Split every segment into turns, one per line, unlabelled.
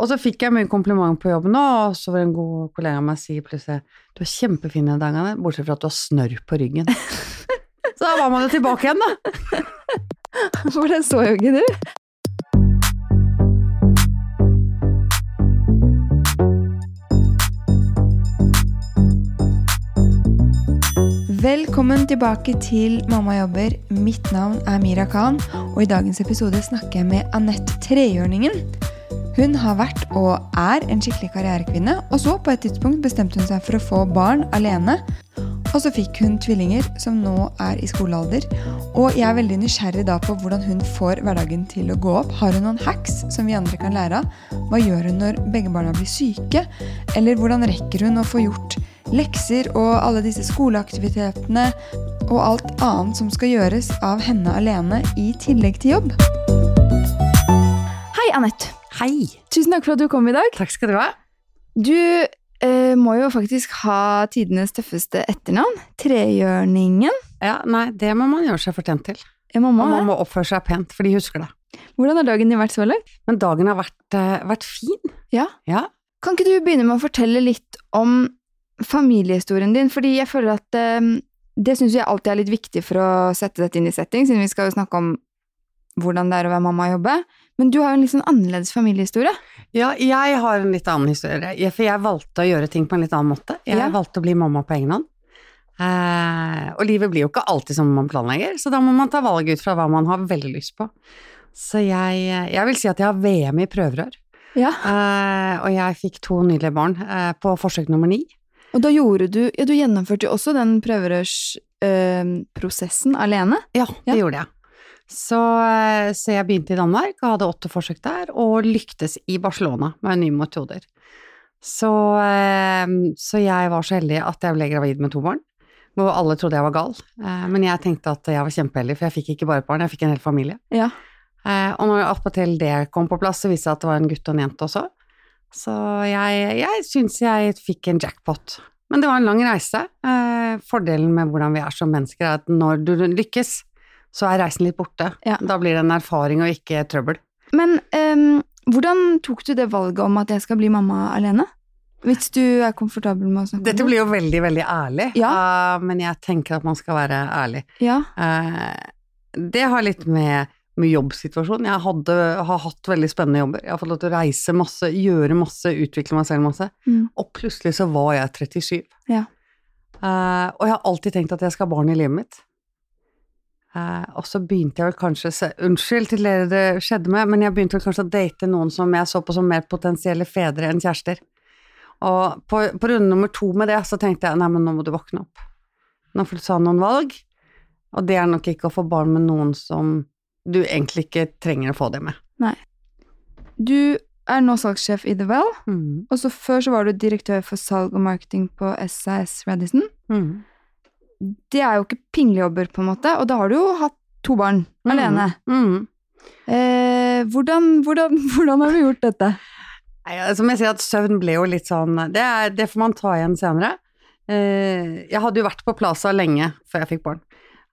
Og så fikk jeg mye kompliment på jobben, og så var det en god kollega av meg si plutselig Du er kjempefin i dag, Anne, bortsett fra at du har snørr på ryggen. så da var man jo tilbake igjen, da.
For den så jo ikke du. Velkommen tilbake til Mamma jobber. Mitt navn er Mira Khan, og i dagens episode snakker jeg med Anette Trehjørningen. Hun har vært og er en skikkelig karrierekvinne, og så på et tidspunkt bestemte hun seg for å få barn alene. Og så fikk hun tvillinger, som nå er i skolealder. Og jeg er veldig nysgjerrig da på hvordan hun får hverdagen til å gå opp. Har hun noen hacks som vi andre kan lære av? Hva gjør hun når begge barna blir syke? Eller hvordan rekker hun å få gjort lekser og alle disse skoleaktivitetene og alt annet som skal gjøres av henne alene i tillegg til jobb?
Hei, Anette.
Hei!
Tusen takk for at du kom i dag.
Takk skal du ha.
Du eh, må jo faktisk ha tidenes tøffeste etternavn. Trehjørningen.
Ja, nei, det må man gjøre seg fortjent til.
Ja,
Og
mamma.
man må oppføre seg pent, for de husker det.
Hvordan har dagen din vært så langt?
Men dagen har vært, eh, vært fin.
Ja.
Ja.
Kan ikke du begynne med å fortelle litt om familiehistorien din? Fordi jeg føler at eh, det syns jeg alltid er litt viktig for å sette dette inn i setting, siden vi skal jo snakke om hvordan det er å være mamma og jobbe. Men du har jo en litt sånn annerledes familiehistorie.
Ja, jeg har en litt annen historie, Jeg- for jeg valgte å gjøre ting på en litt annen måte. Jeg
Ja.
valgte å bli mamma på egen hånd. Eh, og livet blir jo ikke alltid som man planlegger, så da må man ta valget ut fra hva man har veldig lyst på. Så jeg, jeg vil si at jeg har VM i prøverør,
Ja.
eh, og jeg fikk to nydelige barn eh, på forsøk nummer ni.
Og da gjorde du Ja, du gjennomførte jo også den prøverørsprosessen alene.
Ja, det
Ja.
gjorde jeg. Så, eh, så jeg begynte i Danmark og hadde åtte forsøk der, og lyktes i Barcelona med nye metoder. Så, eh, så jeg var så heldig at jeg ble gravid med to barn, hvor alle trodde jeg var gal. Eh, Men jeg tenkte at jeg var kjempeheldig, for jeg fikk ikke bare et barn, jeg fikk en hel familie.
Ja.
Eh, Og når attpåtil det kom på plass, så viste det seg at det var en gutt og en jente også. Så jeg, jeg syns jeg fikk en jackpot. Men det var en lang reise. Eh, Fordelen med hvordan vi er som mennesker, er at når du lykkes, så er reisen litt borte.
Ja.
Da blir det en erfaring og ikke trøbbel.
Men ehm, hvordan tok du det valget om at jeg skal bli mamma alene? Hvis du er komfortabel med å snakke
Dette
om det?
blir jo veldig, veldig ærlig,
Mhm. Ja.
eh, men jeg tenker at man skal være ærlig.
Ja.
Eh, Det har litt med, med jobbsituasjonen. Jeg hadde, har hatt veldig spennende jobber. Jeg har fått lov til å reise masse, gjøre masse, utvikle meg selv masse.
Mm.
Og plutselig så var jeg 37.
Ja.
Eh, og jeg har alltid tenkt at jeg skal ha barn i livet mitt. Eh, og så begynte jeg vel kanskje se, Unnskyld til dere det skjedde med, men jeg begynte vel kanskje å date noen som jeg så på som mer potensielle fedre enn kjærester. Og på, på runde nummer to med det, så tenkte jeg nei, men nå må du våkne opp. Nå får du ta noen valg, og det er nok ikke å få barn med noen som du egentlig ikke trenger å få det med.
Du er nå salgssjef i The Well,
Mm.
og så før så var du direktør for salg og marketing på SAS Radisson.
Mm.
Det er jo ikke pinglejobber, på en måte, og da har du jo hatt to barn alene.
Mm.
Eh, hvordan, hvordan, hvordan har du gjort dette?
Nei, ja, som jeg sier at søvn ble jo litt sånn Det, er, det får man ta igjen senere. Eh, jeg hadde jo vært på Plaza lenge før jeg fikk barn.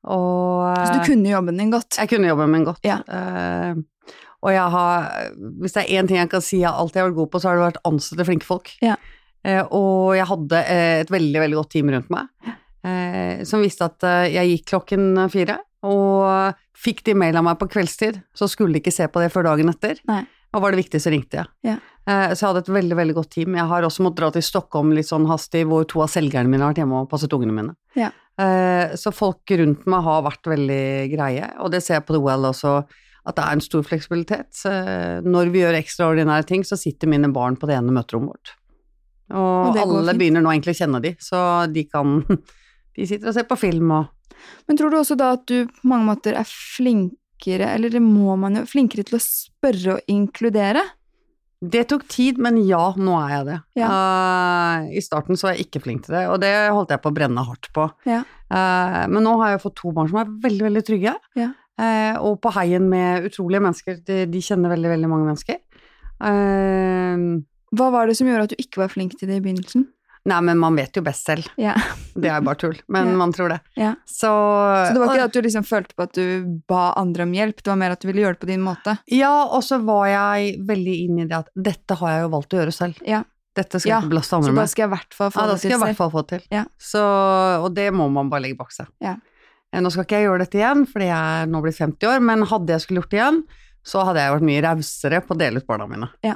Og
Så du kunne jobben din godt.
jeg kunne jobben min godt.
Ja.
Eh, og jeg har Hvis det er én ting jeg kan si jeg alltid har vært god på, så har det vært ansette flinke folk.
Ja.
Eh, og jeg hadde eh, et veldig, veldig godt team rundt meg, eh, som visste at eh, jeg gikk klokken fire, og fikk de mail av meg på kveldstid, så skulle de ikke se på det før dagen etter.
Nei.
Og var det viktig, så ringte jeg.
Ja.
Eh, så jeg hadde et veldig, veldig godt team. Jeg har også måttet dra til Stockholm litt sånn hastig, hvor to av selgerne mine har vært hjemme og passet ungene mine. Eh, Så folk rundt meg har vært veldig greie, og det ser jeg på The Well også, at det er en stor fleksibilitet. Eh, Når vi gjør ekstraordinære ting, så sitter mine barn på det ene møterommet vårt. Og,
Og det går
alle
fint.
begynner nå egentlig å kjenne de, så de kan De sitter og ser på film og
Men tror du også da at du på mange måter er flinkere, eller det må man jo, flinkere til å spørre og inkludere?
Det tok tid, men ja, nå er jeg det. Eh, I starten så var jeg ikke flink til det, og det holdt jeg på å brenne hardt på.
Ja.
Eh, men nå har jeg fått to barn som er veldig, veldig trygge,
Ja.
Eh, og på heien med utrolige mennesker. De, de kjenner veldig, veldig mange mennesker. Eh,
Hva var det som gjorde at du ikke var flink til det i begynnelsen?
nei, men man vet jo best selv.
Ja.
Det er bare tull, men
Ja.
man tror det.
Ja.
Så,
Så det var
og-
ikke det at du liksom følte på at du ba andre om hjelp, det var mer at du ville gjøre det på din måte.
Ja, og så var jeg veldig inn i det at dette har jeg jo valgt å gjøre selv.
Ja.
Dette skal
Ja,
jeg ikke blaste
Så
andre
da
med.
skal jeg i hvert fall få
Ja, da
det
skal jeg
til
i hvert
selv.
fall få det til.
Ja.
Så, og det må man bare legge bak seg.
Ja.
Eh, Nå skal ikke jeg gjøre dette igjen, fordi jeg er nå blitt 50 år, men hadde jeg skulle gjort det igjen, så hadde jeg vært mye rausere på å dele ut barna mine.
Ja.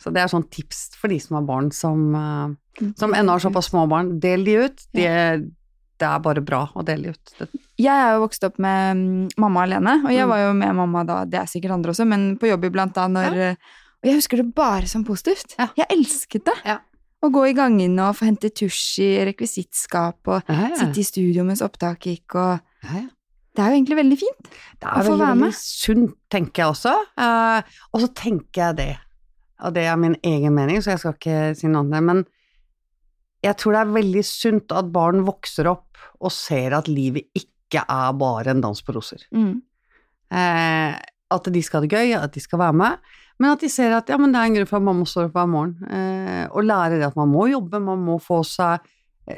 Så det er sånn tips for de som har barn som, eh, som ennå har såpass små barn. Del de ut. De, Det er bare bra å dele de ut. Det,
Jeg er jo vokst opp med mm, mamma alene, og jeg
Mm.
var jo med mamma da, det er sikkert andre også, men på jobb iblant da, når eh, Og jeg husker det bare som positivt.
Ja.
Jeg elsket det.
Ja.
Å gå i gangene og få hente tusj i rekvisittskap, og
ja, ja.
sitte i studio mens opptaket gikk, og
Ja, ja.
Det er jo egentlig veldig fint.
Det
Å
er
få
veldig,
være
veldig
med.
sunt, tenker jeg også. Eh, og så tenker jeg det, og det er min egen mening, så jeg skal ikke si noe annet, men jeg tror det er veldig sunt at barn vokser opp og ser at livet ikke er bare en dans på roser. Eh, at de skal ha det gøy, at de skal være med, men at de ser at ja, men det er en grunn for at mamma står opp hver morgen, eh, og lærer det at man må jobbe, man må få seg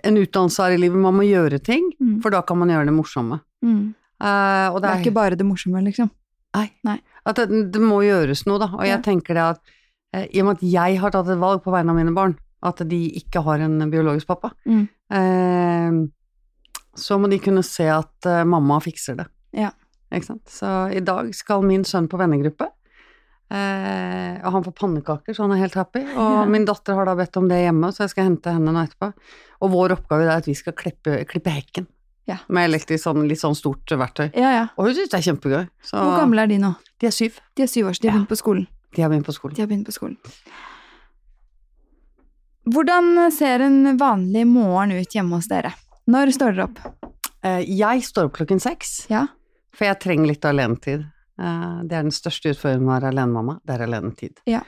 en utdannelse her i livet, man må gjøre ting,
Mm.
for da kan man gjøre det morsomme. Eh, og
Det er ikke bare det morsomme, liksom.
At det, det må gjøres noe, da. Og jeg
Ja.
tenker det at eh, i og med at jeg har tatt et valg på vegne av mine barn, at de ikke har en biologisk pappa,
Mm.
eh, så må de kunne se at eh, mamma fikser det.
Ja.
Ikke sant? Så i dag skal min sønn på vennegruppe, eh, og han får pannekaker, så han er helt happy. Og
Ja.
min datter har da bedt om det hjemme, så jeg skal hente henne nå etterpå. Og vår oppgave er at vi skal klippe, klippe hekken
Ja.
med elektrisk sånn, litt sånn stort verktøy.
Ja, ja.
Og hun syns det er kjempegøy. Så
Hvor gamle er de nå?
de er syv.
De er syv år, så de har
Ja.
begynt på skolen.
De har begynt på skolen.
De har begynt på skolen. Hvordan ser en vanlig morgen ut hjemme hos dere? Når står dere opp?
Eh, Jeg står opp klokken seks,
Ja.
for jeg trenger litt alenetid. Eh, Det er den største utfordringen med å være alenemamma, det er alenetid.
Ja,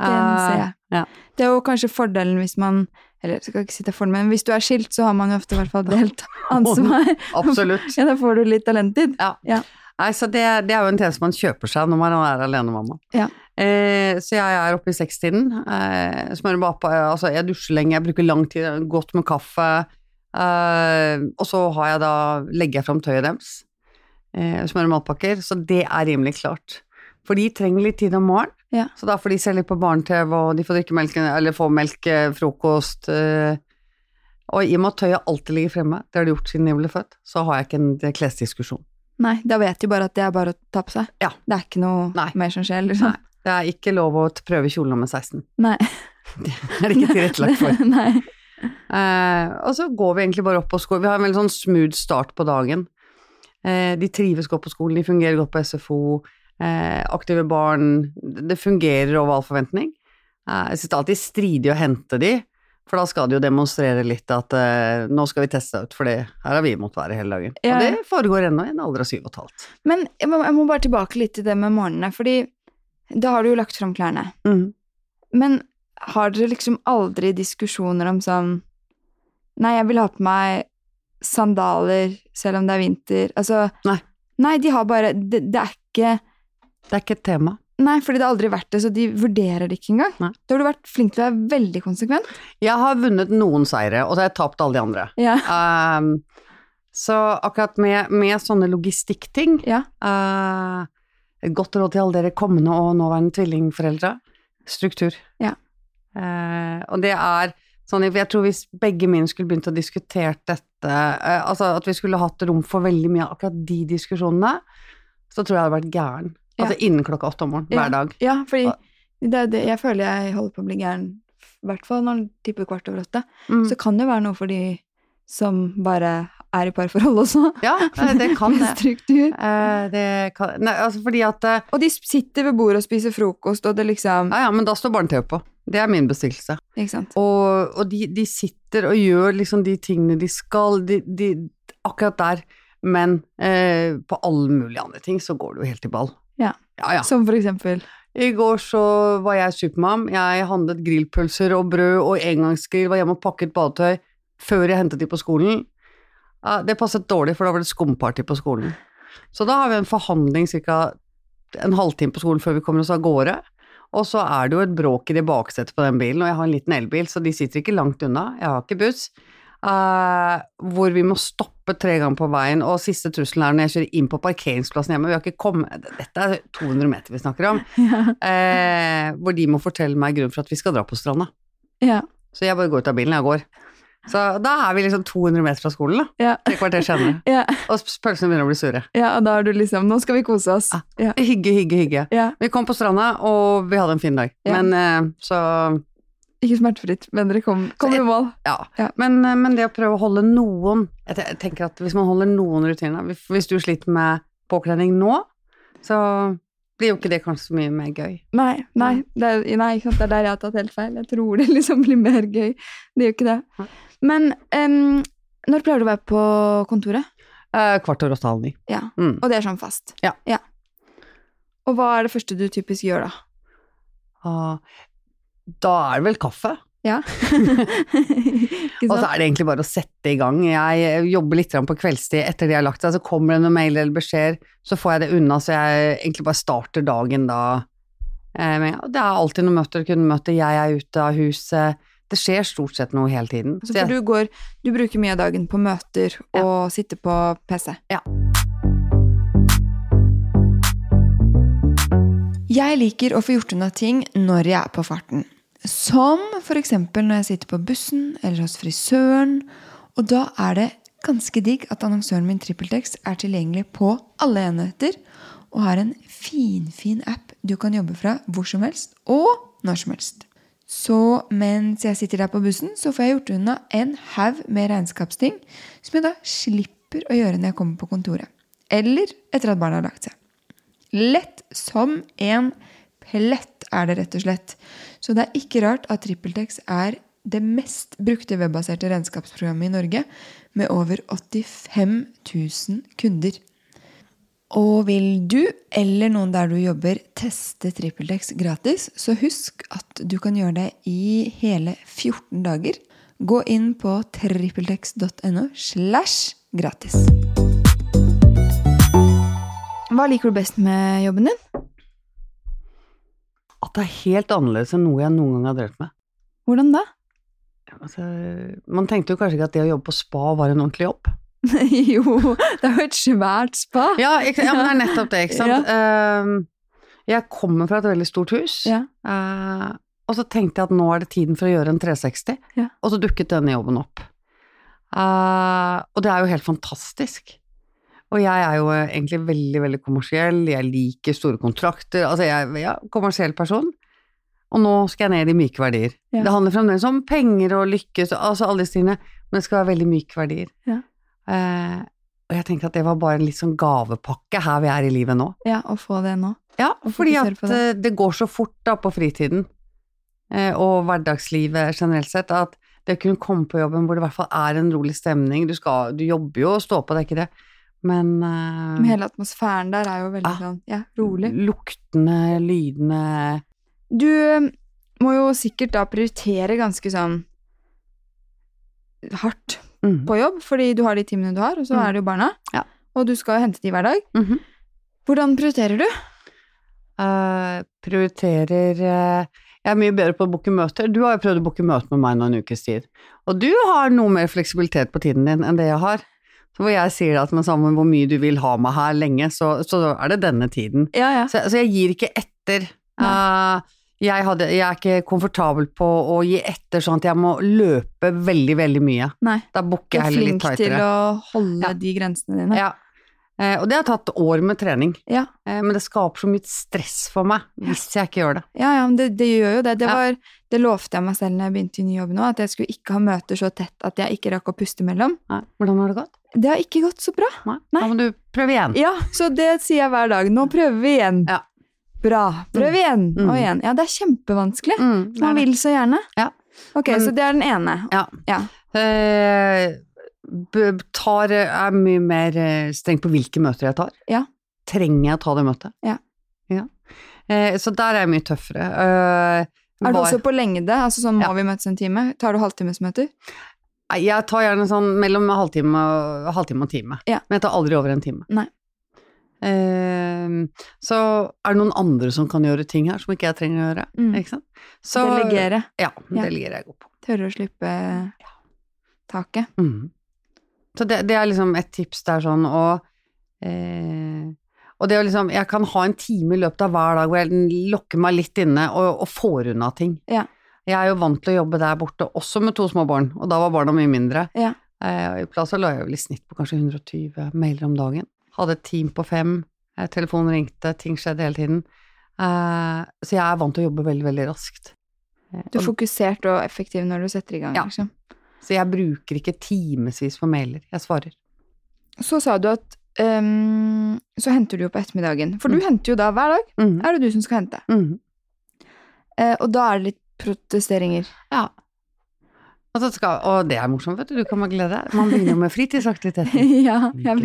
Den
Eh,
ser jeg.
ja.
Det er jo kanskje fordelen hvis man Eller jeg skal ikke si det er fordelen, men hvis du er skilt, så har man jo ofte i hvert fall delt ansvar.
Absolutt.
Ja, da får du litt talenttid.
Nei, så det, det er jo en tjeneste man kjøper seg når man er alenemamma.
Ja.
Eh, så jeg er oppe i sekstiden. Eh, smører meg opp, eh, altså jeg dusjer lenge, jeg bruker lang tid, godt med kaffe. Eh, og så har jeg da, legger jeg fram tøyet deres. Eh, smører matpakker. Så det er rimelig klart. For de trenger litt tid om morgenen.
Ja.
Så da får de se litt på barne-TV, og de får drikke melk, eller få melk, eh, frokost. Eh, og i og med at tøyet alltid ligger fremme, det har det gjort siden de ble født, så har jeg ikke en klesdiskusjon.
Nei, da vet de bare at det er bare å ta på seg.
Ja.
Det er ikke noe
Nei.
mer som skjer, liksom.
Det er ikke lov å t- prøve kjolen nummer 16.
Nei.
Det er ikke tilrettelagt for.
Nei.
Eh, og så går vi egentlig bare opp på skolen. Vi har en veldig sånn smooth start på dagen. Eh, de trives godt på skolen, de fungerer godt på SFO. Eh, aktive barn. Det det fungerer over all forventning. Eh, jeg syns det er alltid stridig å hente de, for da skal de jo demonstrere litt at eh, nå skal vi teste ut, for det- her har vi imot været hele dagen.
Ja.
Og det foregår ennå i en alder av syv og et halvt.
Men jeg må, jeg må bare tilbake litt til det med morgenene, fordi da har du jo lagt fram klærne.
Mm,
Men har dere liksom aldri diskusjoner om sånn Nei, jeg vil ha på meg sandaler selv om det er vinter. Altså
Nei.
Nei, de har bare Det, det er ikke
Det er ikke et tema.
Nei, fordi det har aldri vært det, så de vurderer det ikke engang.
Nei.
Da har du vært flink til å være veldig konsekvent.
Jeg har vunnet noen seire, og så har jeg tapt alle de andre.
Ja.
Ehm, så akkurat med, med sånne logistikkting
Ja.
eh, Et godt råd til alle dere kommende og nåværende tvillingforeldre. Struktur.
Ja.
Eh, og det er sånn Jeg tror hvis begge mine skulle begynt å diskutere dette eh, Altså at vi skulle hatt rom for veldig mye av akkurat de diskusjonene, så tror jeg jeg hadde vært gæren.
Ja.
Altså innen klokka åtte om morgenen
Ja.
hver dag.
Ja, fordi det er det, jeg føler jeg holder på å bli gæren, i hvert fall når det tipper kvart over åtte.
Mm.
Så kan det være noe for de som bare er i parforhold også.
ja, eh, det kan
Med
det.
struktur.
Eh, det kan Nei, altså fordi at eh,
Og de sp- sitter ved bordet og spiser frokost, og det liksom
Ja, ja, men da står barne-TV på. Det er min bestikkelse.
Ikke sant.
Og, og de, de sitter og gjør liksom de tingene de skal, de, de, akkurat der. Men eh, på alle mulige andre ting så går det jo helt i ball.
Ja.
Ja, ja.
Som for eksempel.
I går så var jeg supermam. Jeg handlet grillpølser og brød og engangsgrill, var hjemme og pakket badetøy før jeg hentet de på skolen. Ja, det passet dårlig, for da var det skumparty på skolen. Så da har vi en forhandling ca. en halvtime på skolen før vi kommer oss av gårde. Og så er det jo et bråk i det baksetet på den bilen, og jeg har en liten elbil, så de sitter ikke langt unna. Jeg har ikke buss. eh, hvor vi må stoppe tre ganger på veien, og siste trusselen er når jeg kjører inn på parkeringsplassen hjemme, vi har ikke kommet Dette er 200 meter vi snakker om, eh, hvor de må fortelle meg grunnen for at vi skal dra på stranda.
Ja.
Så jeg bare går ut av bilen, jeg går. Så da er vi liksom 200 meter fra skolen, da.
Ja.
Tre kvarter senere.
Ja.
Og s- pølsene begynner å bli sure.
ja, og da er du liksom Nå skal vi kose oss.
Ah.
Ja.
Hygge, hygge, hygge.
ja.
Vi kom på stranda, og vi hadde en fin dag.
Ja.
Men, eh, så,
Ikke smertefritt, men dere kom, kom i mål.
ja.
Ja.
Men, eh, men det å prøve å holde noen Jeg te- jeg tenker at hvis man holder noen rutiner hvis- Hvis du sliter med påkledning nå, så blir jo ikke det kanskje så mye mer gøy.
Nei, nei, det er, nei ikke sant? det er der jeg har tatt helt feil. Jeg tror det liksom blir mer gøy. Det gjør ikke det.
Nei.
Men em, når pleier du å være på kontoret?
Eh, kvart over åtte halv ni.
Ja.
Mm.
Og det er sånn fast?
Ja.
Og hva er det første du typisk gjør da?
Ah, da er det vel kaffe?
Ja. ikke
Og så
sant?
er det egentlig bare å sette i gang. Jeg jobber litt grann på kveldstid etter de har lagt seg, så kommer det noen mail eller beskjeder, så får jeg det unna, så jeg egentlig bare starter dagen da. Eh, Men ja, det er alltid noen møter, kundemøter, jeg er ute av huset. Det skjer stort sett noe hele tiden.
Så
Så jeg-
for du, går, du bruker mye av dagen på møter og sitter på PC.
Ja.
Jeg liker å få gjort unna ting når jeg er på farten. Som f.eks. når jeg sitter på bussen eller hos frisøren. Og da er det ganske digg at annonsøren min TrippelTex er tilgjengelig på alle enheter og har en finfin app du kan jobbe fra hvor som helst og når som helst. Så mens jeg sitter der på bussen, så får jeg gjort unna en haug med regnskapsting som jeg da slipper å gjøre når jeg kommer på kontoret. Eller etter at barna har lagt seg. Lett som en plett er det rett og slett. Så det er ikke rart at TrippelTex er det mest brukte webbaserte regnskapsprogrammet i Norge, med over 85 000 kunder. Og vil du, eller noen der du jobber, teste TrippelTex gratis, så husk at du kan gjøre det i hele 14 dager. Gå inn på trippeltex.no slash gratis.
Hva liker du best med jobben din?
At det er helt annerledes enn noe jeg noen gang har drevet med.
Hvordan da?
Altså, man tenkte jo kanskje ikke at det å jobbe på spa var en ordentlig jobb.
jo, det er jo et svært spa.
Ja, ikke, ja men det er nettopp det, ikke sant. Ehm, Jeg kommer fra et veldig stort hus.
Ja.
Eh, og så tenkte jeg at nå er det tiden for å gjøre en 360,
Ja.
og så dukket denne jobben opp. Eh, og det er jo helt fantastisk. Og jeg er jo eh, egentlig veldig, veldig kommersiell, jeg liker store kontrakter, altså jeg er ja, kommersiell person. Og nå skal jeg ned i myke verdier.
Ja.
Det handler fremdeles om penger og lykke, så- altså alle disse tingene, men det skal være veldig myke verdier.
Ja.
Eh, og jeg tenker at det var bare en litt sånn gavepakke her vi er i livet nå.
Ja, å få det nå.
Ja,
Og
fordi
fokusere
at
på det.
eh, det går så fort da på fritiden eh, og hverdagslivet generelt sett, at det å kunne komme på jobben hvor det i hvert fall er en rolig stemning Du, skal, du jobber jo og står på, det er ikke det, men eh,
Men hele atmosfæren der er jo veldig
Ah.
sånn ja, rolig.
luktene, lydene
Du eh, må jo sikkert da prioritere ganske sånn hardt
mm.
på jobb, fordi du har de timene du har, og så
Mm.
er det jo barna.
Ja.
Og du skal jo hente de hver dag.
Mhm.
Hvordan prioriterer du?
Eh, prioriterer eh, Jeg er mye bedre på å booke møter. Du har jo prøvd å booke møte med meg nå en ukes tid. Og du har noe mer fleksibilitet på tiden din enn det jeg har. Så hvor jeg sier at men sammen hvor mye du vil ha meg her lenge, så, så er det denne tiden.
Ja, ja.
Så, så jeg gir ikke etter. Eh, jeg, hadde, jeg er ikke komfortabel på å gi etter sånn at jeg må løpe veldig, veldig mye.
Nei.
Da
Du
booker jeg
er
heller litt
flink til
tightere.
å holde
Ja.
de grensene dine.
Ja. Eh, og det har tatt år med trening.
Ja.
Eh, men det skaper så mye stress for meg hvis jeg ikke gjør det.
Ja, ja, men det, det gjør jo det. Det,
Ja.
var, det lovte jeg meg selv når jeg begynte i ny jobb nå, at jeg skulle ikke ha møter så tett at jeg ikke rakk å puste imellom.
Nei. Hvordan har det gått?
Det har ikke gått så bra.
Nei.
Nei.
Da må du prøve igjen.
Ja, så det sier jeg hver dag. Nå prøver vi igjen.
Ja.
Bra. Prøv igjen
Mm.
og igjen. Ja, det er kjempevanskelig.
Mm, det er
Man
det.
vil så gjerne.
Ja.
Ok,
Men-
så det er den ene.
Ja.
Ja.
Eh, b- tar, er mye mer eh, streng på hvilke møter jeg tar.
Ja.
Trenger jeg å ta det møtet?
Ja.
Ja. Eh, så der er jeg mye tøffere. Eh,
Er du
var-
også på lengde? Altså sånn, må
Ja.
vi møtes en time? Tar du halvtimesmøter?
Nei, Jeg tar gjerne sånn mellom halvtime og, halvtime og time.
Ja.
Men jeg tar aldri over en time.
Nei.
Eh, så er det noen andre som kan gjøre ting her som ikke jeg trenger å gjøre.
Mm.
Ikke sant? Så,
Delegere.
Ja,
Ja.
delegere er jeg god på.
Tørre å slippe taket.
Mm. Så det, det er liksom et tips der sånn, og eh, Og det å liksom Jeg kan ha en time i løpet av hver dag hvor jeg lokker meg litt inne og, og får unna ting.
Ja.
Jeg er jo vant til å jobbe der borte, også med to små barn, og da var barna mye mindre.
Ja.
Eh, og I plass så la jeg vel i snitt på kanskje 120 mailer om dagen. Hadde et team på fem, eh, telefonen ringte, ting skjedde hele tiden. Eh, så jeg er vant til å jobbe veldig, veldig raskt. Eh,
Du
og-
er fokusert og effektiv når du setter i gang.
Ja.
Liksom.
Så jeg bruker ikke timevis på mailer, jeg svarer.
Så sa du at ehm, Så henter du jo på ettermiddagen. For
Mm.
du henter jo da hver dag.
Mhm,
Er det du som skal hente?
mhm.
Eh, og da er det litt protesteringer.
Ja. Og, så skal, og det er morsomt, vet du. Du kan bare glede deg. Man begynner jo med fritidsaktiviteter.
ja,
Liker
jeg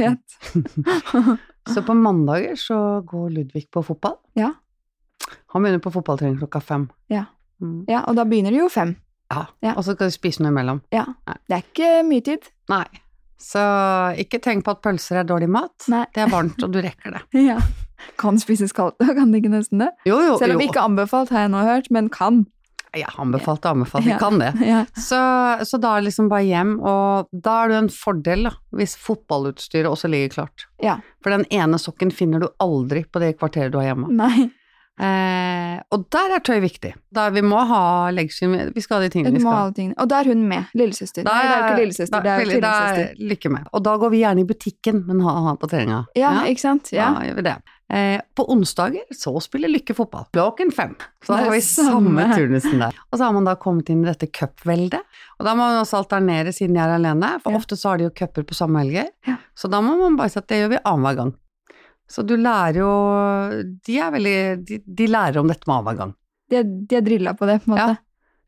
vet.
Så på mandager så går Ludvig på fotball.
Ja.
Han begynner på fotballtrening klokka fem.
Ja.
Mm.
Ja, og da begynner det jo fem.
Ja.
Ja.
Og så skal du spise noe imellom.
Ja.
Nei.
Det er ikke mye tid.
Nei. Så ikke tenk på at pølser er dårlig mat.
Nei.
Det er varmt, og du rekker det.
Ja. Kan spises kaldt, da kan det ikke nesten det.
Jo, jo,
Selv om
jo.
ikke anbefalt, har jeg nå hørt, men kan.
Jeg anbefalte, anbefalte.
Ja.
Vi kan det.
Ja.
Så, så da er det liksom bare hjem, og da er det jo en fordel da, hvis fotballutstyret også ligger klart.
Ja.
For den ene sokken finner du aldri på det kvarteret du har hjemme.
Nei.
Eh, og der er tøy viktig. Da, vi må ha leggskinn, vi skal ha de tingene
Du
vi
må ha
skal.
alle tingene. Og da er hun med. Lillesøster. Nei, det er jo ikke lillesøster, det er jo
veldig- det er
tvillingsøster.
Lykke med. Og da går vi gjerne i butikken, men ha han på treninga.
Ja, ikke sant? Ja.
da gjør vi det. Eh, på onsdager så spiller Lykke fotball, klokken fem. Så da
Det er
har vi samme
samme.
turnusen der. Og så har man da kommet inn i dette cupveldet, og da må man også alternere siden jeg er alene, for
Ja.
ofte så har de jo cuper på samme helger.
Ja.
Så da må man bare si at det gjør vi annenhver gang. Så du lærer jo De er veldig De, de lærer om dette med annenhver gang.
De, de er drilla på det, på en måte.
Ja.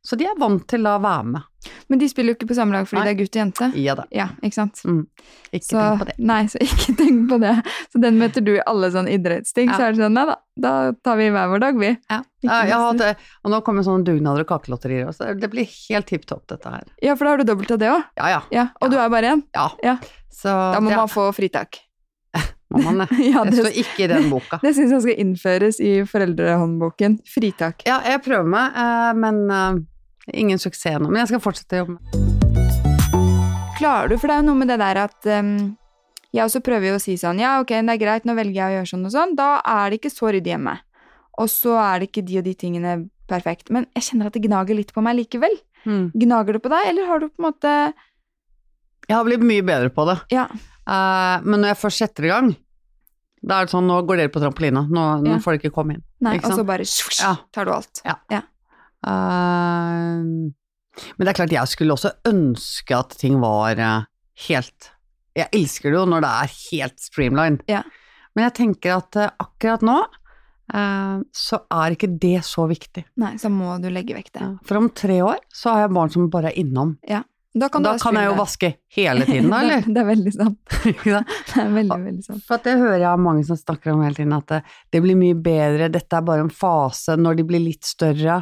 Så de er vant til å være med.
Men de spiller jo ikke på samme lag
Nei.
fordi det er gutt og jente.
Ja da,
Ja, ikke sant?
Mm, ikke
så,
tenk på det.
Nei, så ikke tenk på det. Så den møter du i alle sånne idrettsting.
Ja.
Så er det sånn, nei da, da tar vi hver vår dag, vi.
Ja.
Ikke
Ja, jeg har hatt
minst.
det. Og nå kommer sånne dugnader og kakelotterier også. Det blir helt tipp topp, dette her.
Ja, for da har du dobbelt av det òg.
Ja, ja.
Ja, og
Ja.
du er bare én.
ja.
Ja.
Så
Da må
det
man få fritak.
må man det.
Ja,
Det står
det,
ikke i den boka.
det syns jeg skal innføres i foreldrehåndboken. Fritak.
Ja, jeg prøver meg, eh, men eh, ingen suksess nå. Men jeg skal fortsette å jobbe. med-
Klarer du, for det er jo noe med det der at ehm, jeg også prøver jo å si sånn, ja ok, det er greit, nå velger jeg å gjøre sånn og sånn, da er det ikke så ryddig hjemme. Og så er det ikke de og de tingene perfekt. Men jeg kjenner at det gnager litt på meg likevel.
Mm.
Gnager det på deg, eller har du på en måte,
Jeg har blitt mye bedre på det.
ja,
Eh, men når jeg først setter i gang, da er det sånn, nå går dere på trampolina. Nå, nå
Ja.
får dere ikke komme inn.
nei,
Ikke
og så
sant?
bare svosj,
Ja.
tar du alt.
Eh, men det er klart, jeg skulle også ønske at ting var eh, helt Jeg elsker det jo når det er helt streamlined.
Ja.
Men jeg tenker at eh, akkurat nå eh, så er ikke det så viktig.
Nei, så må du legge vekk det.
For om tre år så har jeg barn som bare er innom.
Da kan, du
da
ha
kan jeg jo
streamet.
vaske hele tiden, da, eller?
Det, det er veldig sant.
Ikke sant?
Det er veldig, veldig sant.
For at det hører jeg av mange som snakker om hele tiden, at det, det blir mye bedre, dette er bare en fase når de blir litt større.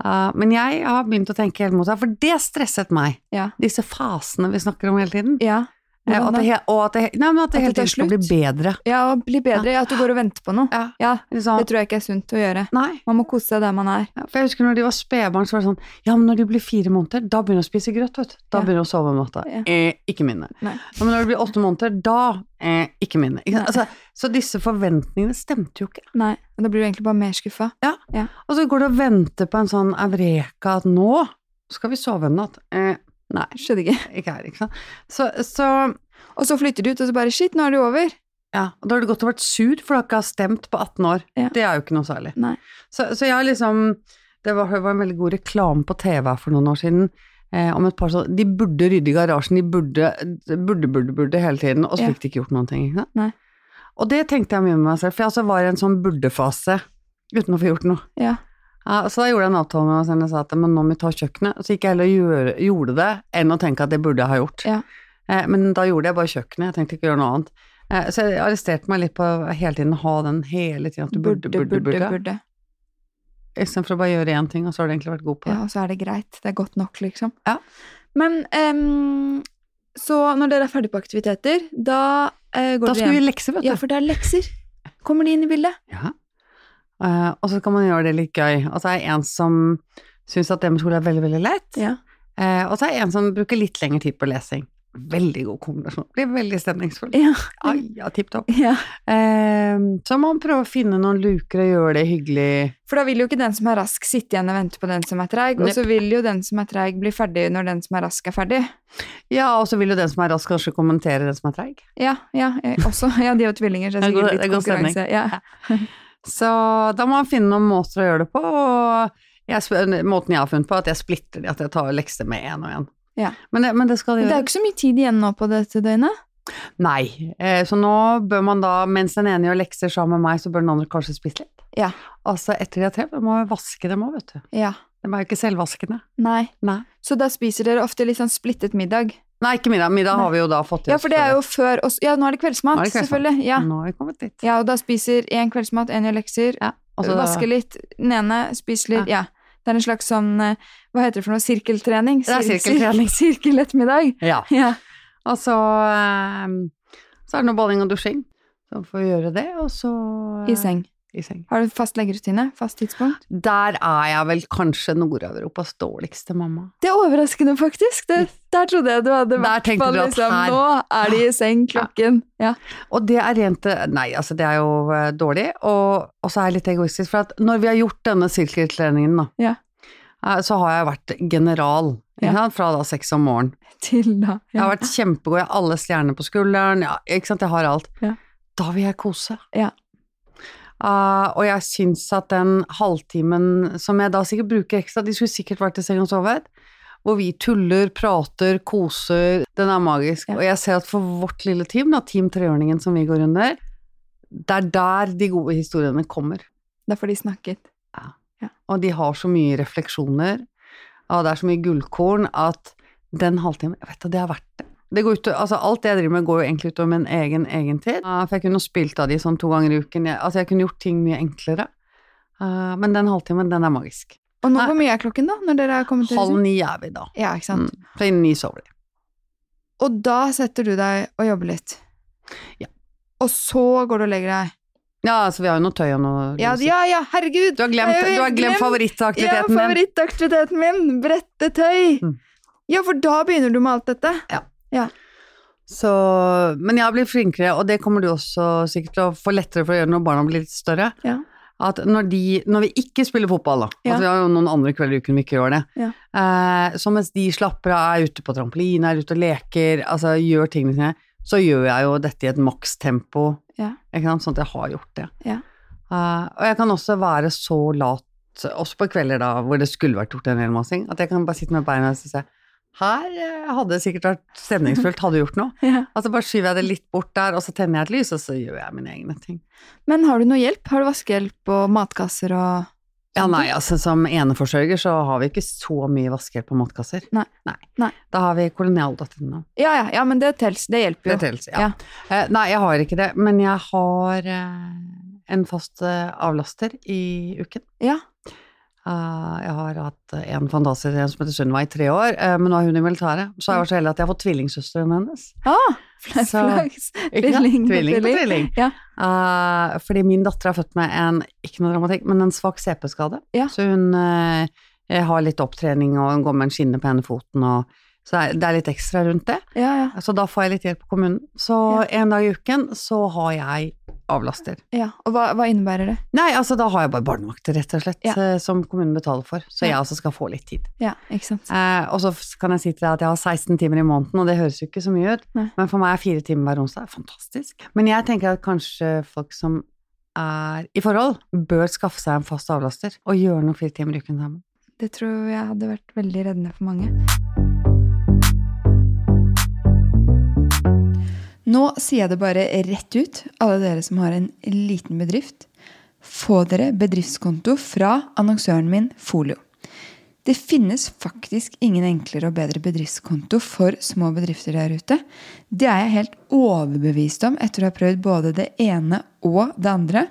Eh, men jeg har begynt å tenke helt motsatt, for det stresset meg.
Ja.
Disse fasene vi snakker om hele tiden.
Ja.
Eh, og at det, he- og at det, he- nei, men at det
At
hele
det
tiden
tar
skal bli
slutt.
bedre.
Ja, og bli bedre, ja, at du går og venter på noe.
Ja.
Ja,
Liksom,
det tror jeg ikke er sunt å gjøre.
nei.
Man må kose seg der man er.
Ja, For jeg husker når de var spedbarn, så var det sånn Ja, men når de blir fire måneder, da begynner de å spise grøt, vet du. Da
Ja.
begynner de å sove om natta.
Ja.
Eh, ikke minne.
Nei.
Ja, men når de blir åtte måneder, da eh, ikke minne. Ikke sant?
Nei.
Altså, så disse forventningene stemte jo ikke.
Nei, og da blir du egentlig bare mer skuffa.
Og så går du og venter på en sånn eureka at nå skal vi sove en natt. Eh, nei,
Skjønner ikke.
ikke her, ikke sant. Så, så
Og så flytter du ut, og så bare shit, nå er det jo over.
ja, og da har du godt og vært sur for du har ikke har stemt på 18 år.
Ja.
Det er jo ikke noe særlig.
Nei.
Så, så jeg har liksom det var, det var en veldig god reklame på TV her for noen år siden. Eh, om et par sånn, De burde rydde i garasjen, de burde, burde, burde, burde hele tiden, og så
Ja.
fikk de ikke gjort noen ting. Ikke? sant?
Nei.
Og det tenkte jeg mye med meg selv, for jeg altså var i en sånn burde-fase uten å få gjort noe.
Ja.
Ja, så da gjorde jeg en avtale med meg selv og sa at men nå må vi ta kjøkkenet. Så gikk jeg heller og gjøre, gjorde det enn å tenke at det burde jeg ha gjort.
Ja.
Eh, men da gjorde jeg bare kjøkkenet, jeg tenkte ikke gjøre noe annet. Eh, så jeg arresterte meg litt på å hele tiden ha den hele tiden, at du burde, burde, burde. Istedenfor å bare gjøre én ting, og så har du egentlig vært god på det.
Ja, og så er det greit. Det er godt nok, liksom.
Ja.
Men ehm, så når dere er ferdig på aktiviteter, da eh, går
da
dere
skal vi
hjem.
i lekser, vet du.
Ja, for det er lekser. Kommer de inn i bildet?
Ja. Eh, og så kan man gjøre det litt gøy. Og så er det en som syns at det med skole er veldig, veldig lett.
Ja.
Eh, og så er det en som bruker litt lengre tid på lesing. Veldig god kombinasjon. Blir veldig stemningsfull.
Ja.
Ai, ja, tipp topp.
Ja.
Eh, så må man prøve å finne noen luker og gjøre det hyggelig.
For da vil jo ikke den som er rask sitte igjen og vente på den som er treig, og
Nepp.
så vil jo den som er treig bli ferdig når den som er rask er ferdig.
Ja, og så vil jo den som er rask, kanskje kommentere den som er treig.
Ja, ja, jeg også. Ja, de er jo tvillinger, så det
Det
er
er god-
sikkert litt
det er god stemning.
konkurranse. Ja.
Så da må man finne noen måter å gjøre det på, og jeg, sp- måten jeg har funnet på, er at jeg splitter de, at jeg tar lekser med én og én.
Ja.
Men, det- men det skal de
Men Det
gjøre.
er jo ikke så mye tid igjen nå på dette døgnet.
Nei. Eh, så nå bør man da, mens den ene gjør lekser sammen med meg, så bør den andre kanskje spise litt.
Ja.
Altså etter de har trent, da må vi vaske dem òg, vet du.
Ja.
De er jo ikke selvvaskende.
Nei.
Nei.
Så da spiser dere ofte litt sånn splittet middag.
Nei, ikke middag. Middag har vi jo da fått i
Ja, for det er jo før og s- Ja, nå er det kveldsmat, Mm.
Nå er det kveldsmat.
selvfølgelig. Ja.
Nå har vi kommet dit.
ja, og da spiser én kveldsmat, én gjør lekser,
Ja, og så-
vasker litt, den ene spiser litt ja. Det er en slags sånn eh, Hva heter det for noe? Sirkeltrening?
Det er sirkeltrening.
Sirkel, sirkel ettermiddag.
Ja.
Ja.
Og så, eh, så er det noe bading og dusjing. Så får vi gjøre det, og så eh,
I seng.
I seng.
Har du fast leggerutine? Fast tidspunkt?
Der er jeg vel kanskje Nord-Europas dårligste mamma.
Det er overraskende, faktisk. Det, der trodde jeg du hadde
Der
vært
tenkte
på
du at
liksom,
her-
Nå er de i seng klokken. Ja.
Og det er rent Nei, altså, det er jo eh, dårlig, og, og så er jeg litt egoistisk, for at når vi har gjort denne sirkeltreningen, da,
Ja.
eh, så har jeg vært general ikke
Ja.
sant, fra da seks om morgenen.
Til da.
Jeg
Ja.
har vært kjempegod, jeg har alle stjerner på skulderen, ja, ikke sant, jeg har alt.
Ja.
Da vil jeg kose.
Ja.
Ah, og jeg syns at den halvtimen som jeg da sikkert bruker ekstra, de skulle sikkert vært i seng og sovet, hvor vi tuller, prater, koser, den er magisk.
Ja.
Og jeg ser at for vårt lille team, da, Team Treåringen som vi går under, det er der de gode historiene kommer.
Da får de snakket.
Og de har så mye refleksjoner, og det er så mye gullkorn at den halvtimen Jeg vet da, det er verdt det. Det går ut, altså alt det jeg driver med, går jo egentlig utover min egen egen tid. Eh, For jeg kunne jo spilt av de sånn to ganger i uken. Jeg, altså, jeg kunne gjort ting mye enklere. Eh, Men den halvtimen, den er magisk.
Og nå,
Nei.
hvor mye er klokken, da? Når dere er kommet til
Ah. Halv ni er vi da.
Ja, ikke sant.
Mm. Så innen ni sover de.
Og da setter du deg og jobber litt.
Ja.
Og så går du og legger deg.
Ja, altså vi har jo noe tøy og noe
Ja, ja, ja, herregud!
Du har glemt,
Jeg
du har glemt
Ja,
favorittaktiviteten din.
favorittaktiviteten min! Brettetøy!
Mm.
Ja, for da begynner du med alt dette.
Så, men jeg blir flinkere, og det kommer du også sikkert til å få lettere for å gjøre når barna blir litt større.
Ja.
At når, de, når vi ikke spiller fotball, da,
Ja.
at vi har jo noen andre kvelder i uken vi ikke gjør det,
Ja.
eh, så mens de slapper av, er ute på trampoline, er ute og leker, altså gjør tingene sine, så gjør jeg jo dette i et makstempo,
Ja.
ikke sant, sånn at jeg har gjort det.
Ja.
Eh, og jeg kan også være så lat, også på kvelder da, hvor det skulle vært gjort en hel massing, at jeg kan bare sitte med beina og se, her eh, hadde det sikkert vært stemningsfullt, hadde du gjort noe.
Ja.
Altså bare skyver jeg det litt bort der, og så tenner jeg et lys, og så gjør jeg mine egne ting.
Men har du noe hjelp? Har du vaskehjelp og matkasser og
Ja,
sånne
nei,
ting?
altså som eneforsørger så har vi ikke så mye vaskehjelp på matkasser.
Nei. Nei.
Da har vi kolonialdatteren nå.
Ja, ja, ja, men det, tels, det hjelper jo.
Det telles, ja. Eh, nei, jeg har ikke det, men jeg har eh, en fast eh, avlaster i uken.
Ja.
Eh, jeg har hatt en fantastisk en som heter Sunniva i tre år, eh, men nå er hun i militæret. Så jeg var så heldig at jeg har fått tvillingsøsteren hennes.
Ah, fl-
Så-
flaks.
Ikke sant?
Tvilling
tvilling.
på
På
tvilling.
tvilling.
Ja.
Eh, fordi min datter er født med en, ikke noe dramatikk, men en svak CP-skade.
Ja.
Så hun eh, har litt opptrening, og hun går med en skinne på ene foten, og så det er, det er litt ekstra rundt det.
Ja, ja,
Så da får jeg litt hjelp på kommunen. Så en dag i uken så har jeg avlaster.
ja. Og hva, hva innebærer det?
Nei, altså da har jeg bare barnevakter, rett og slett,
Ja.
eh, som kommunen betaler for. Så
Ja.
jeg altså skal få litt tid.
Ja, ikke sant.
Eh, og så f- kan jeg si til deg at jeg har 16 timer i måneden, og det høres jo ikke så mye ut,
Nei.
men for meg er fire timer hver onsdag fantastisk. Men jeg tenker at kanskje folk som er i forhold, bør skaffe seg en fast avlaster og gjøre noe fire timer i uken sammen.
Det tror jeg hadde vært veldig reddende for mange.
Nå sier jeg det bare rett ut, alle dere som har en liten bedrift. Få dere bedriftskonto fra annonsøren min Folio. Det finnes faktisk ingen enklere og bedre bedriftskonto for små bedrifter der ute. Det er jeg helt overbevist om etter å ha prøvd både det ene og det andre.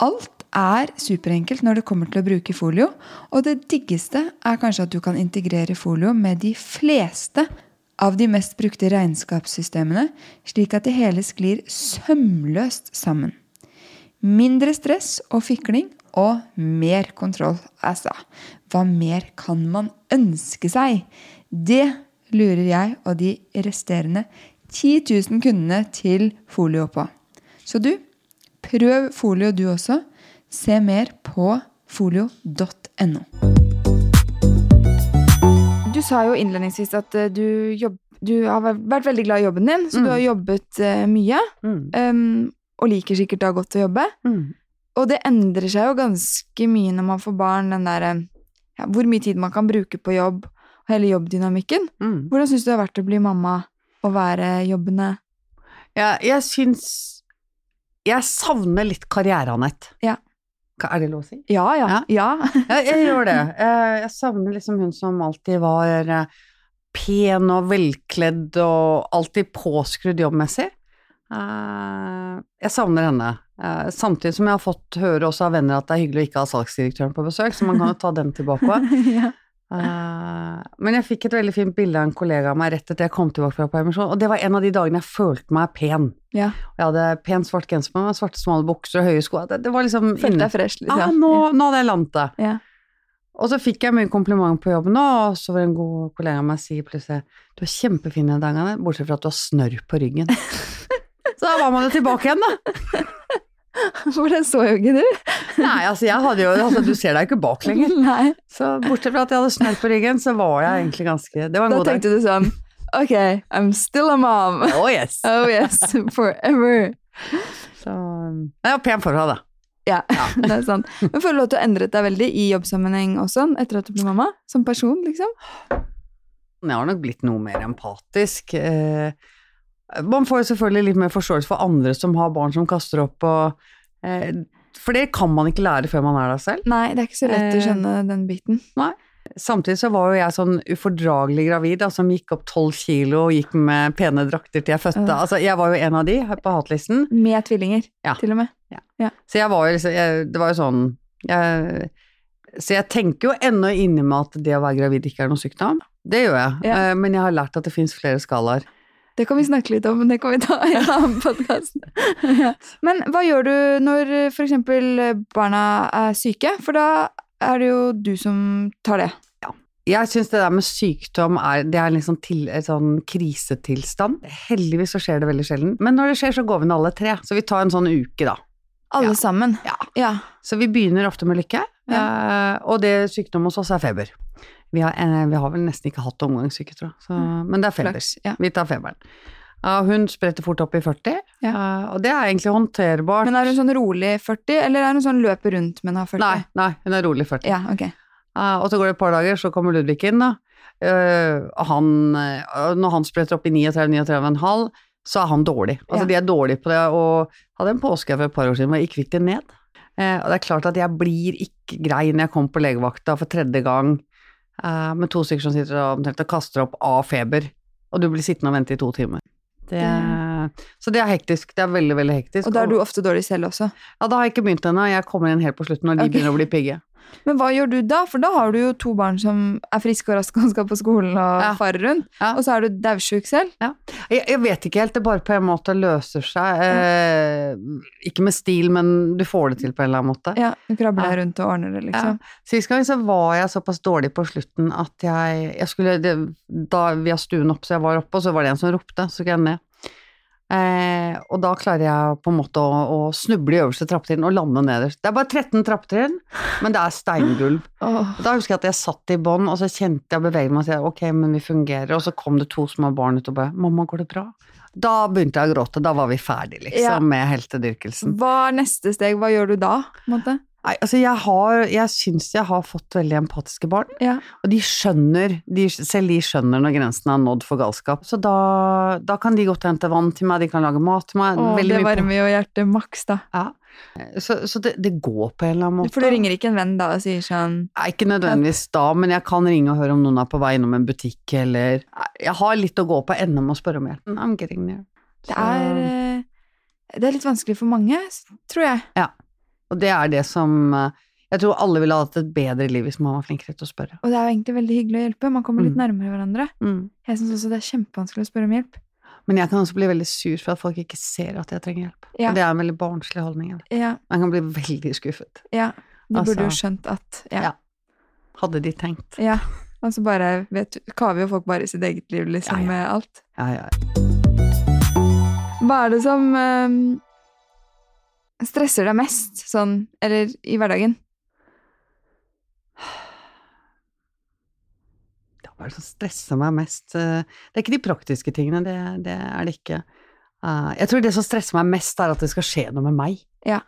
Alt er superenkelt når det kommer til å bruke folio, og det diggeste er kanskje at du kan integrere folio med de fleste av de mest brukte regnskapssystemene, slik at det hele sklir sømløst sammen. Mindre stress og fikling og mer kontroll. Altså, hva mer kan man ønske seg? Det lurer jeg og de resterende 10 000 kundene til Folio på. Så du, prøv Folio du også. Se mer på folio.no.
Du sa jo innledningsvis at eh, du, jobb, du har vært veldig glad i jobben din, så
Mm.
du har jobbet eh, mye,
Mm.
em, og liker sikkert da godt å jobbe.
Mm.
Og det endrer seg jo ganske mye når man får barn, den derre ja, hvor mye tid man kan bruke på jobb, og hele jobbdynamikken.
Mm.
Hvordan syns du det har vært å bli mamma og være jobbende?
Ja, jeg syns Jeg savner litt karriere, Anette.
Ja.
Hva- Er det lov å si?
Ja, ja. ja.
Ja, jeg gjør det. Eh, Jeg savner liksom hun som alltid var eh, pen og velkledd og alltid påskrudd jobbmessig. Eh, Jeg savner henne. Eh, Samtidig som jeg har fått høre også av venner at det er hyggelig å ikke ha salgsdirektøren på besøk, så man kan jo ta dem tilbake.
ja.
Eh, Men jeg fikk et veldig fint bilde av en kollega av meg rett etter jeg kom tilbake fra permisjon, og det var en av de dagene jeg følte meg pen.
Ja.
Og jeg hadde pen svart genser på meg, svarte smale bukser og høye sko. Det, det var liksom
Følte
inne-
deg fresh, liksom.
Ah,
Ja, nå, nå hadde jeg landet det.
Ja.
Og så fikk jeg mye kompliment på jobben, og så var det en god kollega av meg si plutselig Du er kjempefin i dagene, bortsett fra at du har snørr på ryggen. så da var man jo tilbake igjen, da.
Hvordan så jo ikke du?
Nei, altså, jeg hadde jo altså, Du ser deg jo ikke bak lenger.
Nei.
Så bortsett fra at jeg hadde snørr på ryggen, så var jeg egentlig ganske Det var en
Da
god dag.
tenkte du sånn Ok, I'm still a mom.
Oh yes.
Oh yes, forever.
Så um, Jeg var pen forhold, da.
Ja, det er sant. Men føler du at du har endret deg veldig i jobbsammenheng også, etter at du ble mamma? Som person, liksom?
Men Jeg har nok blitt noe mer empatisk. Eh, man får jo selvfølgelig litt mer forståelse for andre som har barn som kaster opp og eh, For det kan man ikke lære før man er der selv.
Nei, det er ikke så lett å
Eh.
skjønne den biten.
Samtidig så var jo jeg sånn ufordragelig gravid, da, som gikk opp tolv kilo og gikk med pene drakter til jeg fødte.
Ja.
Altså, jeg var jo en av de her på hatlisten.
Med tvillinger,
Ja.
til og med.
Så jeg var jo liksom jeg, Det var jo sånn jeg, Så jeg tenker jo ennå inni meg at det å være gravid ikke er noen sykdom. Det gjør jeg.
Ja.
Eh, Men jeg har lært at det fins flere skalaer.
Det kan vi snakke litt om, men det kan vi ta i en annen podkast. ja. Men hva gjør du når f.eks. barna er syke? For da er det jo du som tar det.
Jeg syns det der med sykdom er, det er liksom til, et sånn krisetilstand. Heldigvis så skjer det veldig sjelden. Men når det skjer, så går vi ned alle tre. Så vi tar en sånn uke, da.
Alle
Ja.
sammen.
Ja.
ja.
Så vi begynner ofte med lykke, eh, og det sykdom hos oss er feber. Vi har, eh, vi har vel nesten ikke hatt omgangssyke, tror jeg. Så, Men det er feber.
Mm. Flaks. Ja.
Vi tar feberen. Ja, hun spretter fort opp i 40, eh, og det er egentlig håndterbart.
Men er hun sånn rolig 40, eller er hun sånn løper rundt, men har 40?
Nei, nei, hun er rolig 40.
Ja, ok.
Eh, og så går det et par dager, så kommer Ludvig inn, da. Eh, og han, eh, og når han spretter opp i 39-39,5, så er han dårlig. Altså,
Ja.
de er dårlige på det, og hadde en påske her for et par år siden hvor jeg ikke fikk det ned. Eh, og det er klart at jeg blir ikke grei når jeg kommer på legevakta for tredje gang eh, med to stykker som sitter og omtrent og kaster opp av feber, og du blir sittende og vente i to timer. Det, så det er hektisk. Det er veldig, veldig hektisk.
Og da er du ofte dårlig selv også.
Ja, da har jeg ikke begynt ennå. Jeg kommer inn helt på slutten når de
Ok.
begynner å bli pigge.
Men hva gjør du da? For da har du jo to barn som er friske og raske og skal på skolen og
Ja.
farer rundt,
Ja.
og så er du daudsjuk selv.
Jeg, jeg vet ikke helt, det bare på en måte løser seg. Eh, ikke med stil, men du får det til på en eller annen måte.
Ja, du krabber
Ja.
deg rundt og ordner det, liksom.
Sist gang så var jeg såpass dårlig på slutten at jeg, jeg skulle det, Da vi har stuen opp, så jeg var oppe, og så var det en som ropte, så gikk jeg ned. Eh, og da klarer jeg på en måte å, å snuble i øverste trappetrinn og lande nederst. Det er bare 13 trappetrinn, men det er steingulv.
Åh.
Og Da husker jeg at jeg satt i bånd, og så kjente jeg beveget meg og sa ok, men vi fungerer. Og så kom det to små barn ut og bare mamma, går det bra? Da begynte jeg å gråte. Da var vi ferdig, liksom,
Ja.
med heltedyrkelsen.
Hva er neste steg? Hva gjør du da? på en måte?
Nei, altså jeg har, jeg syns jeg har fått veldig empatiske barn.
Ja.
Og de skjønner, de, selv de skjønner når grensen er nådd for galskap. Så da, da kan de godt hente vann til meg, de kan lage mat til meg.
Åh,
veldig
det
mye på-
varmer jo hjertet maks, da.
Så, så det, det går på en eller annen måte.
For du ringer ikke en venn da og sier sånn
Nei, ikke nødvendigvis da, men jeg kan ringe og høre om noen er på vei innom en butikk, eller Nei, Jeg har litt å gå på ennå med å spørre om hjelp. I'm getting there.
Det
Så-
er, eh, det er litt vanskelig for mange, s- tror jeg. eh,
Og det er det som eh, Jeg tror alle ville hatt et bedre liv hvis man var flinkere til å spørre.
Og det er jo egentlig veldig hyggelig å hjelpe. Man kommer litt nærmere hverandre.
Mm.
Jeg syns også det er kjempevanskelig å spørre om hjelp.
Men jeg kan også bli veldig sur for at folk ikke ser at jeg trenger hjelp.
Ja.
Og det er en veldig barnslig holdning. eller?
Ja,
Jeg kan bli veldig skuffet.
ja. De
Altså-
burde jo skjønt at
Ja.
Ja.
hadde de tenkt.
ja. Altså bare vet, kaver jo folk bare i sitt eget liv, liksom,
Ja, ja.
med alt.
Ja, ja.
Hva er det som øhm, stresser deg mest, sånn, eller i hverdagen?
Det er bare det som stresser meg mest. eh, Det er ikke de praktiske tingene, det, det er det ikke. Eh, Jeg tror det som stresser meg mest, er at det skal skje noe med meg.
Ja.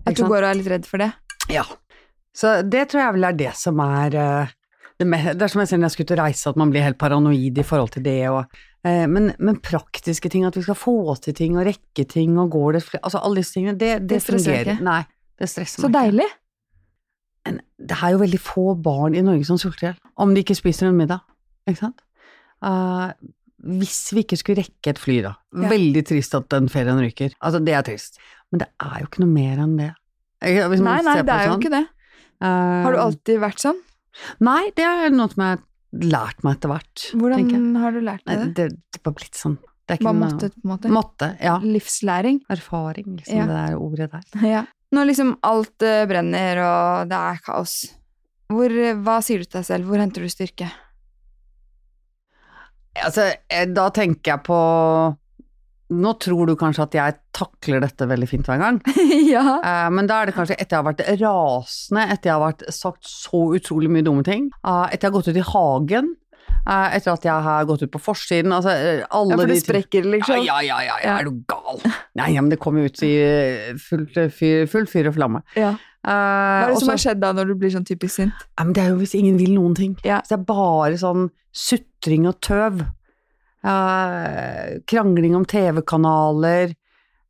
Ikke
At du
sant?
går og er litt redd for det?
Ja. Så det tror jeg vel er det som er eh, det, me- det er som jeg sier når jeg skal ut og reise, at man blir helt paranoid i forhold til det og eh, men, men praktiske ting, at vi skal få til ting og rekke ting og går det fl- Altså alle disse tingene, det, det,
Det stresser
fungerer.
deg ikke?
Nei, det stresser
Så
meg ikke.
deilig!
En- Det er jo veldig få barn i Norge som sulter i hjel, om de ikke spiser en middag, ikke sant? Eh, hvis vi ikke skulle rekke et fly, da.
Ja.
Veldig trist at den ferien ryker. Altså, det er trist. Men det er jo ikke noe mer enn det. Eh, Hvis
Nei,
man
nei,
ser på
det er jo
sånn.
ikke det. Har du
Eh,
alltid vært sånn?
Nei, det er noe som jeg har lært meg etter hvert. tenker jeg.
Hvordan har du lært
Nei,
deg det?
det? Det var blitt sånn. Det er ikke
Hva
noe-
måtte, på en måte?
Måtte, ja.
Livslæring?
Erfaring, liksom,
Ja.
det der ordet der.
Ja. Når liksom alt eh, brenner og det er kaos, hvor, eh, hva sier du til deg selv? Hvor henter du styrke?
Altså, eh, da tenker jeg på Nå tror du kanskje at jeg takler dette veldig fint hver gang,
ja.
Eh, men da er det kanskje etter jeg har vært rasende, etter jeg har vært sagt så utrolig mye dumme ting, eh, etter jeg har gått ut i hagen, eh, etter at jeg har gått ut på forsiden altså, eh, alle
ja,
de
for det
ting-
sprekker liksom.
Ja, ja, ja, ja,
Ja.
er du gal? Nei, ja, men det kom jo ut i eh, fullt eh, fyr, full fyr og flamme.
Ja.
Eh,
Hva er det
og
som
så-
har skjedd da, når du blir sånn typisk sint?
Ja, men det er jo hvis ingen vil noen ting.
Ja.
Hvis det er bare sånn sutring og tøv, eh, krangling om TV-kanaler,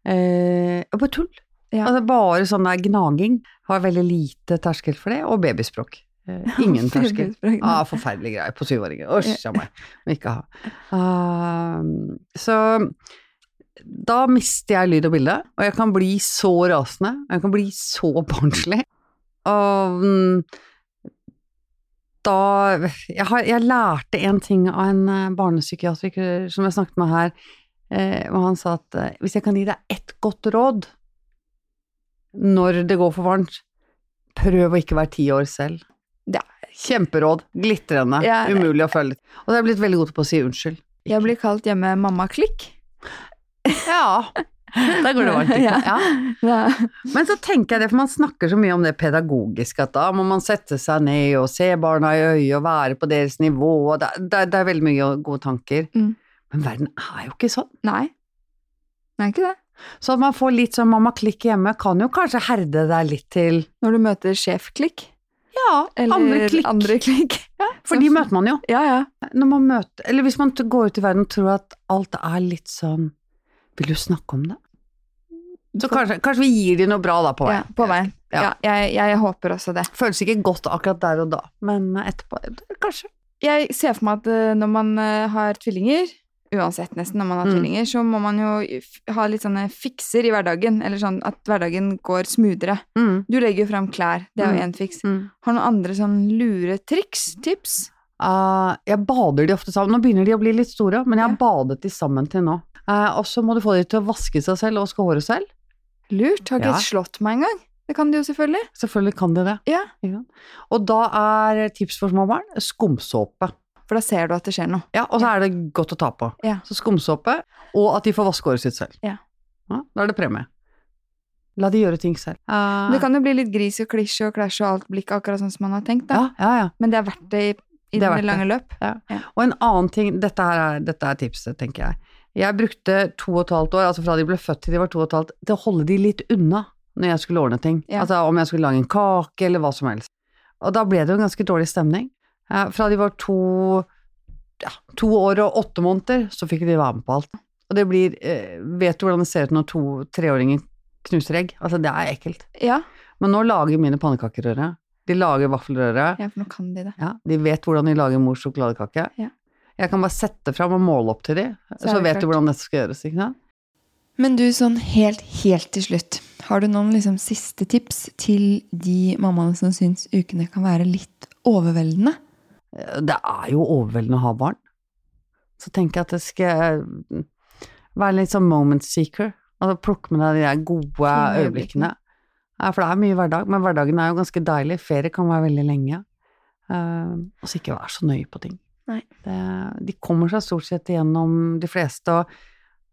eh, og bare tull.
Ja.
Altså bare sånn der gnaging. Har veldig lite terskel for det, og babyspråk. Eh, ingen terskel.
Babyspråk,
Ja,
nei.
ah, forferdelig greie på syvåringer. Usch a meg. Må ikke ha. Ah, så da mister jeg lyd og bilde, og jeg kan bli så rasende, og jeg kan bli så barnslig. Og mm, da Jeg, har, jeg lærte en ting av en eh, barnepsykiatriker som jeg snakket med her, eh, og han sa at eh, hvis jeg kan gi deg ett godt råd når det går for varmt, prøv å ikke være ti år selv.
Ja.
Kjemperåd. Glitrende.
Ja, det-
Umulig å følge. Og så har jeg blitt veldig god på å si unnskyld.
Jeg blir kalt hjemme mamma klikk.
Ja. Der går det varmt. Ikke?
Ja.
sant? Ja.
Ja.
Men så tenker jeg det, for man snakker så mye om det pedagogiske, at da må man sette seg ned og se barna i øyet og være på deres nivå, og det, det, det er veldig mye gode tanker.
Mm.
Men verden er jo ikke sånn.
Nei. Nei, ikke det.
Så at man får litt sånn mamma klikk hjemme, kan jo kanskje herde deg litt til
Når du møter sjef klikk.
ja,
Eller
andre klikk.
Andre klikk.
For de møter man jo.
Ja, ja.
Når man møter, eller hvis man t- går ut i verden og tror at alt er litt sånn Vil du snakke om det? Så kanskje, kanskje vi gir de noe bra da på
Ja,
veien.
på veien. Ja,
Ja.
jeg, jeg håper også det.
Føles ikke godt akkurat der og da, men etterpå kanskje.
Jeg ser for meg at eh, når man eh, har tvillinger, uansett nesten når man har
Mm.
tvillinger, så må man jo f- ha litt sånne fikser i hverdagen, eller sånn at hverdagen går smoothere.
Mm.
Du legger jo fram klær, det er jo én fiks.
Mm.
Har noen andre sånn lure triks, tips?
Eh, jeg bader de ofte sammen. Nå begynner de å bli litt store, men jeg har
Ja.
badet de sammen til nå. Eh, og så må du få de til å vaske seg selv og vaske håret selv.
Lurt, har ikke
Ja.
slått meg engang. Det kan de jo selvfølgelig.
Selvfølgelig kan de det.
Ja.
Og da er tips for små barn skumsåpe.
For da ser du at det skjer noe.
Ja, og så er det godt å ta på.
Ja.
Så skumsåpe, og at de får vaske håret sitt selv.
Ja.
Ja, da er det premie. La de gjøre ting selv. Eh,
Ah.
Det kan jo bli litt gris og klisj og klasj og alt blir ikke akkurat sånn som man har tenkt, da.
Ah.
ja, ja, ja.
Men det er verdt det i, i
Det
det,
er verdt
lange løp.
Og en annen ting, dette, her er, dette er tipset, tenker jeg. Jeg brukte to og et halvt år, altså fra de ble født til de var to og et halvt, til å holde de litt unna når jeg skulle ordne ting.
Ja.
Altså om jeg skulle lage en kake eller hva som helst. Og da ble det jo en ganske dårlig stemning. Eh, Fra de var to, ja, to år og åtte måneder, så fikk de være med på alt. Og det blir, eh, vet du hvordan det ser ut når to treåringer knuser egg? Altså det er ekkelt.
Ja,
Men nå lager mine pannekakerøre. De lager vaffelrøre.
ja, for nå kan de det.
Ja, de vet hvordan de lager mors sjokoladekake.
Ja.
Jeg kan bare sette fram og måle opp til de,
Så er
så
det
vet
klart.
du hvordan dette skal gjøres. ikke sant?
Men du, sånn helt, helt til slutt, har du noen liksom siste tips til de mammaene som syns ukene kan være litt overveldende?
Eh, Det er jo overveldende å ha barn. Så tenker jeg at det skal være litt sånn moment seeker. Altså plukke med deg de der gode
Fine øyeblikkene.
øyeblikkene. Ja, for det er mye hverdag, men hverdagen er jo ganske deilig. Ferie kan være veldig lenge. Eh, og så ikke være så nøye på ting.
Nei.
Det, de kommer seg stort sett igjennom de fleste, og,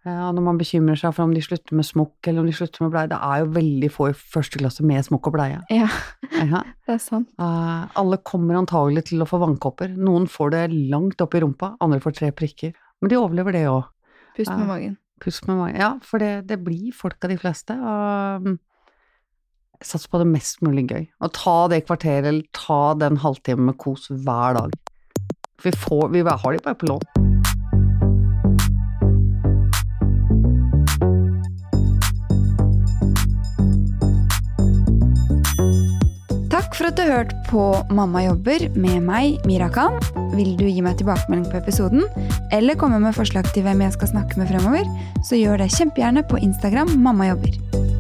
eh, og når man bekymrer seg for om de slutter med smokk eller om de slutter med bleie, det er jo veldig få i første klasse med smokk og bleie.
Ja,
Ja.
det er sant.
Eh, alle kommer antagelig til å få vannkopper. Noen får det langt opp i rumpa, andre får tre prikker. Men de overlever det òg.
Pust
Ja.
Ah.
med magen.
Puss med magen. Ja, for det, det blir folk av de fleste. Og mm, sats på det mest mulig gøy. Og ta det kvarteret, eller ta den halvtimen med kos hver dag. Vi, får, vi har de bare på lån.
Takk for at du hørte på Mamma jobber med meg, Mira Khan. Vil du gi meg tilbakemelding på episoden, eller komme med forslag til hvem jeg skal snakke med fremover, så gjør det kjempegjerne på Instagram Mamma jobber.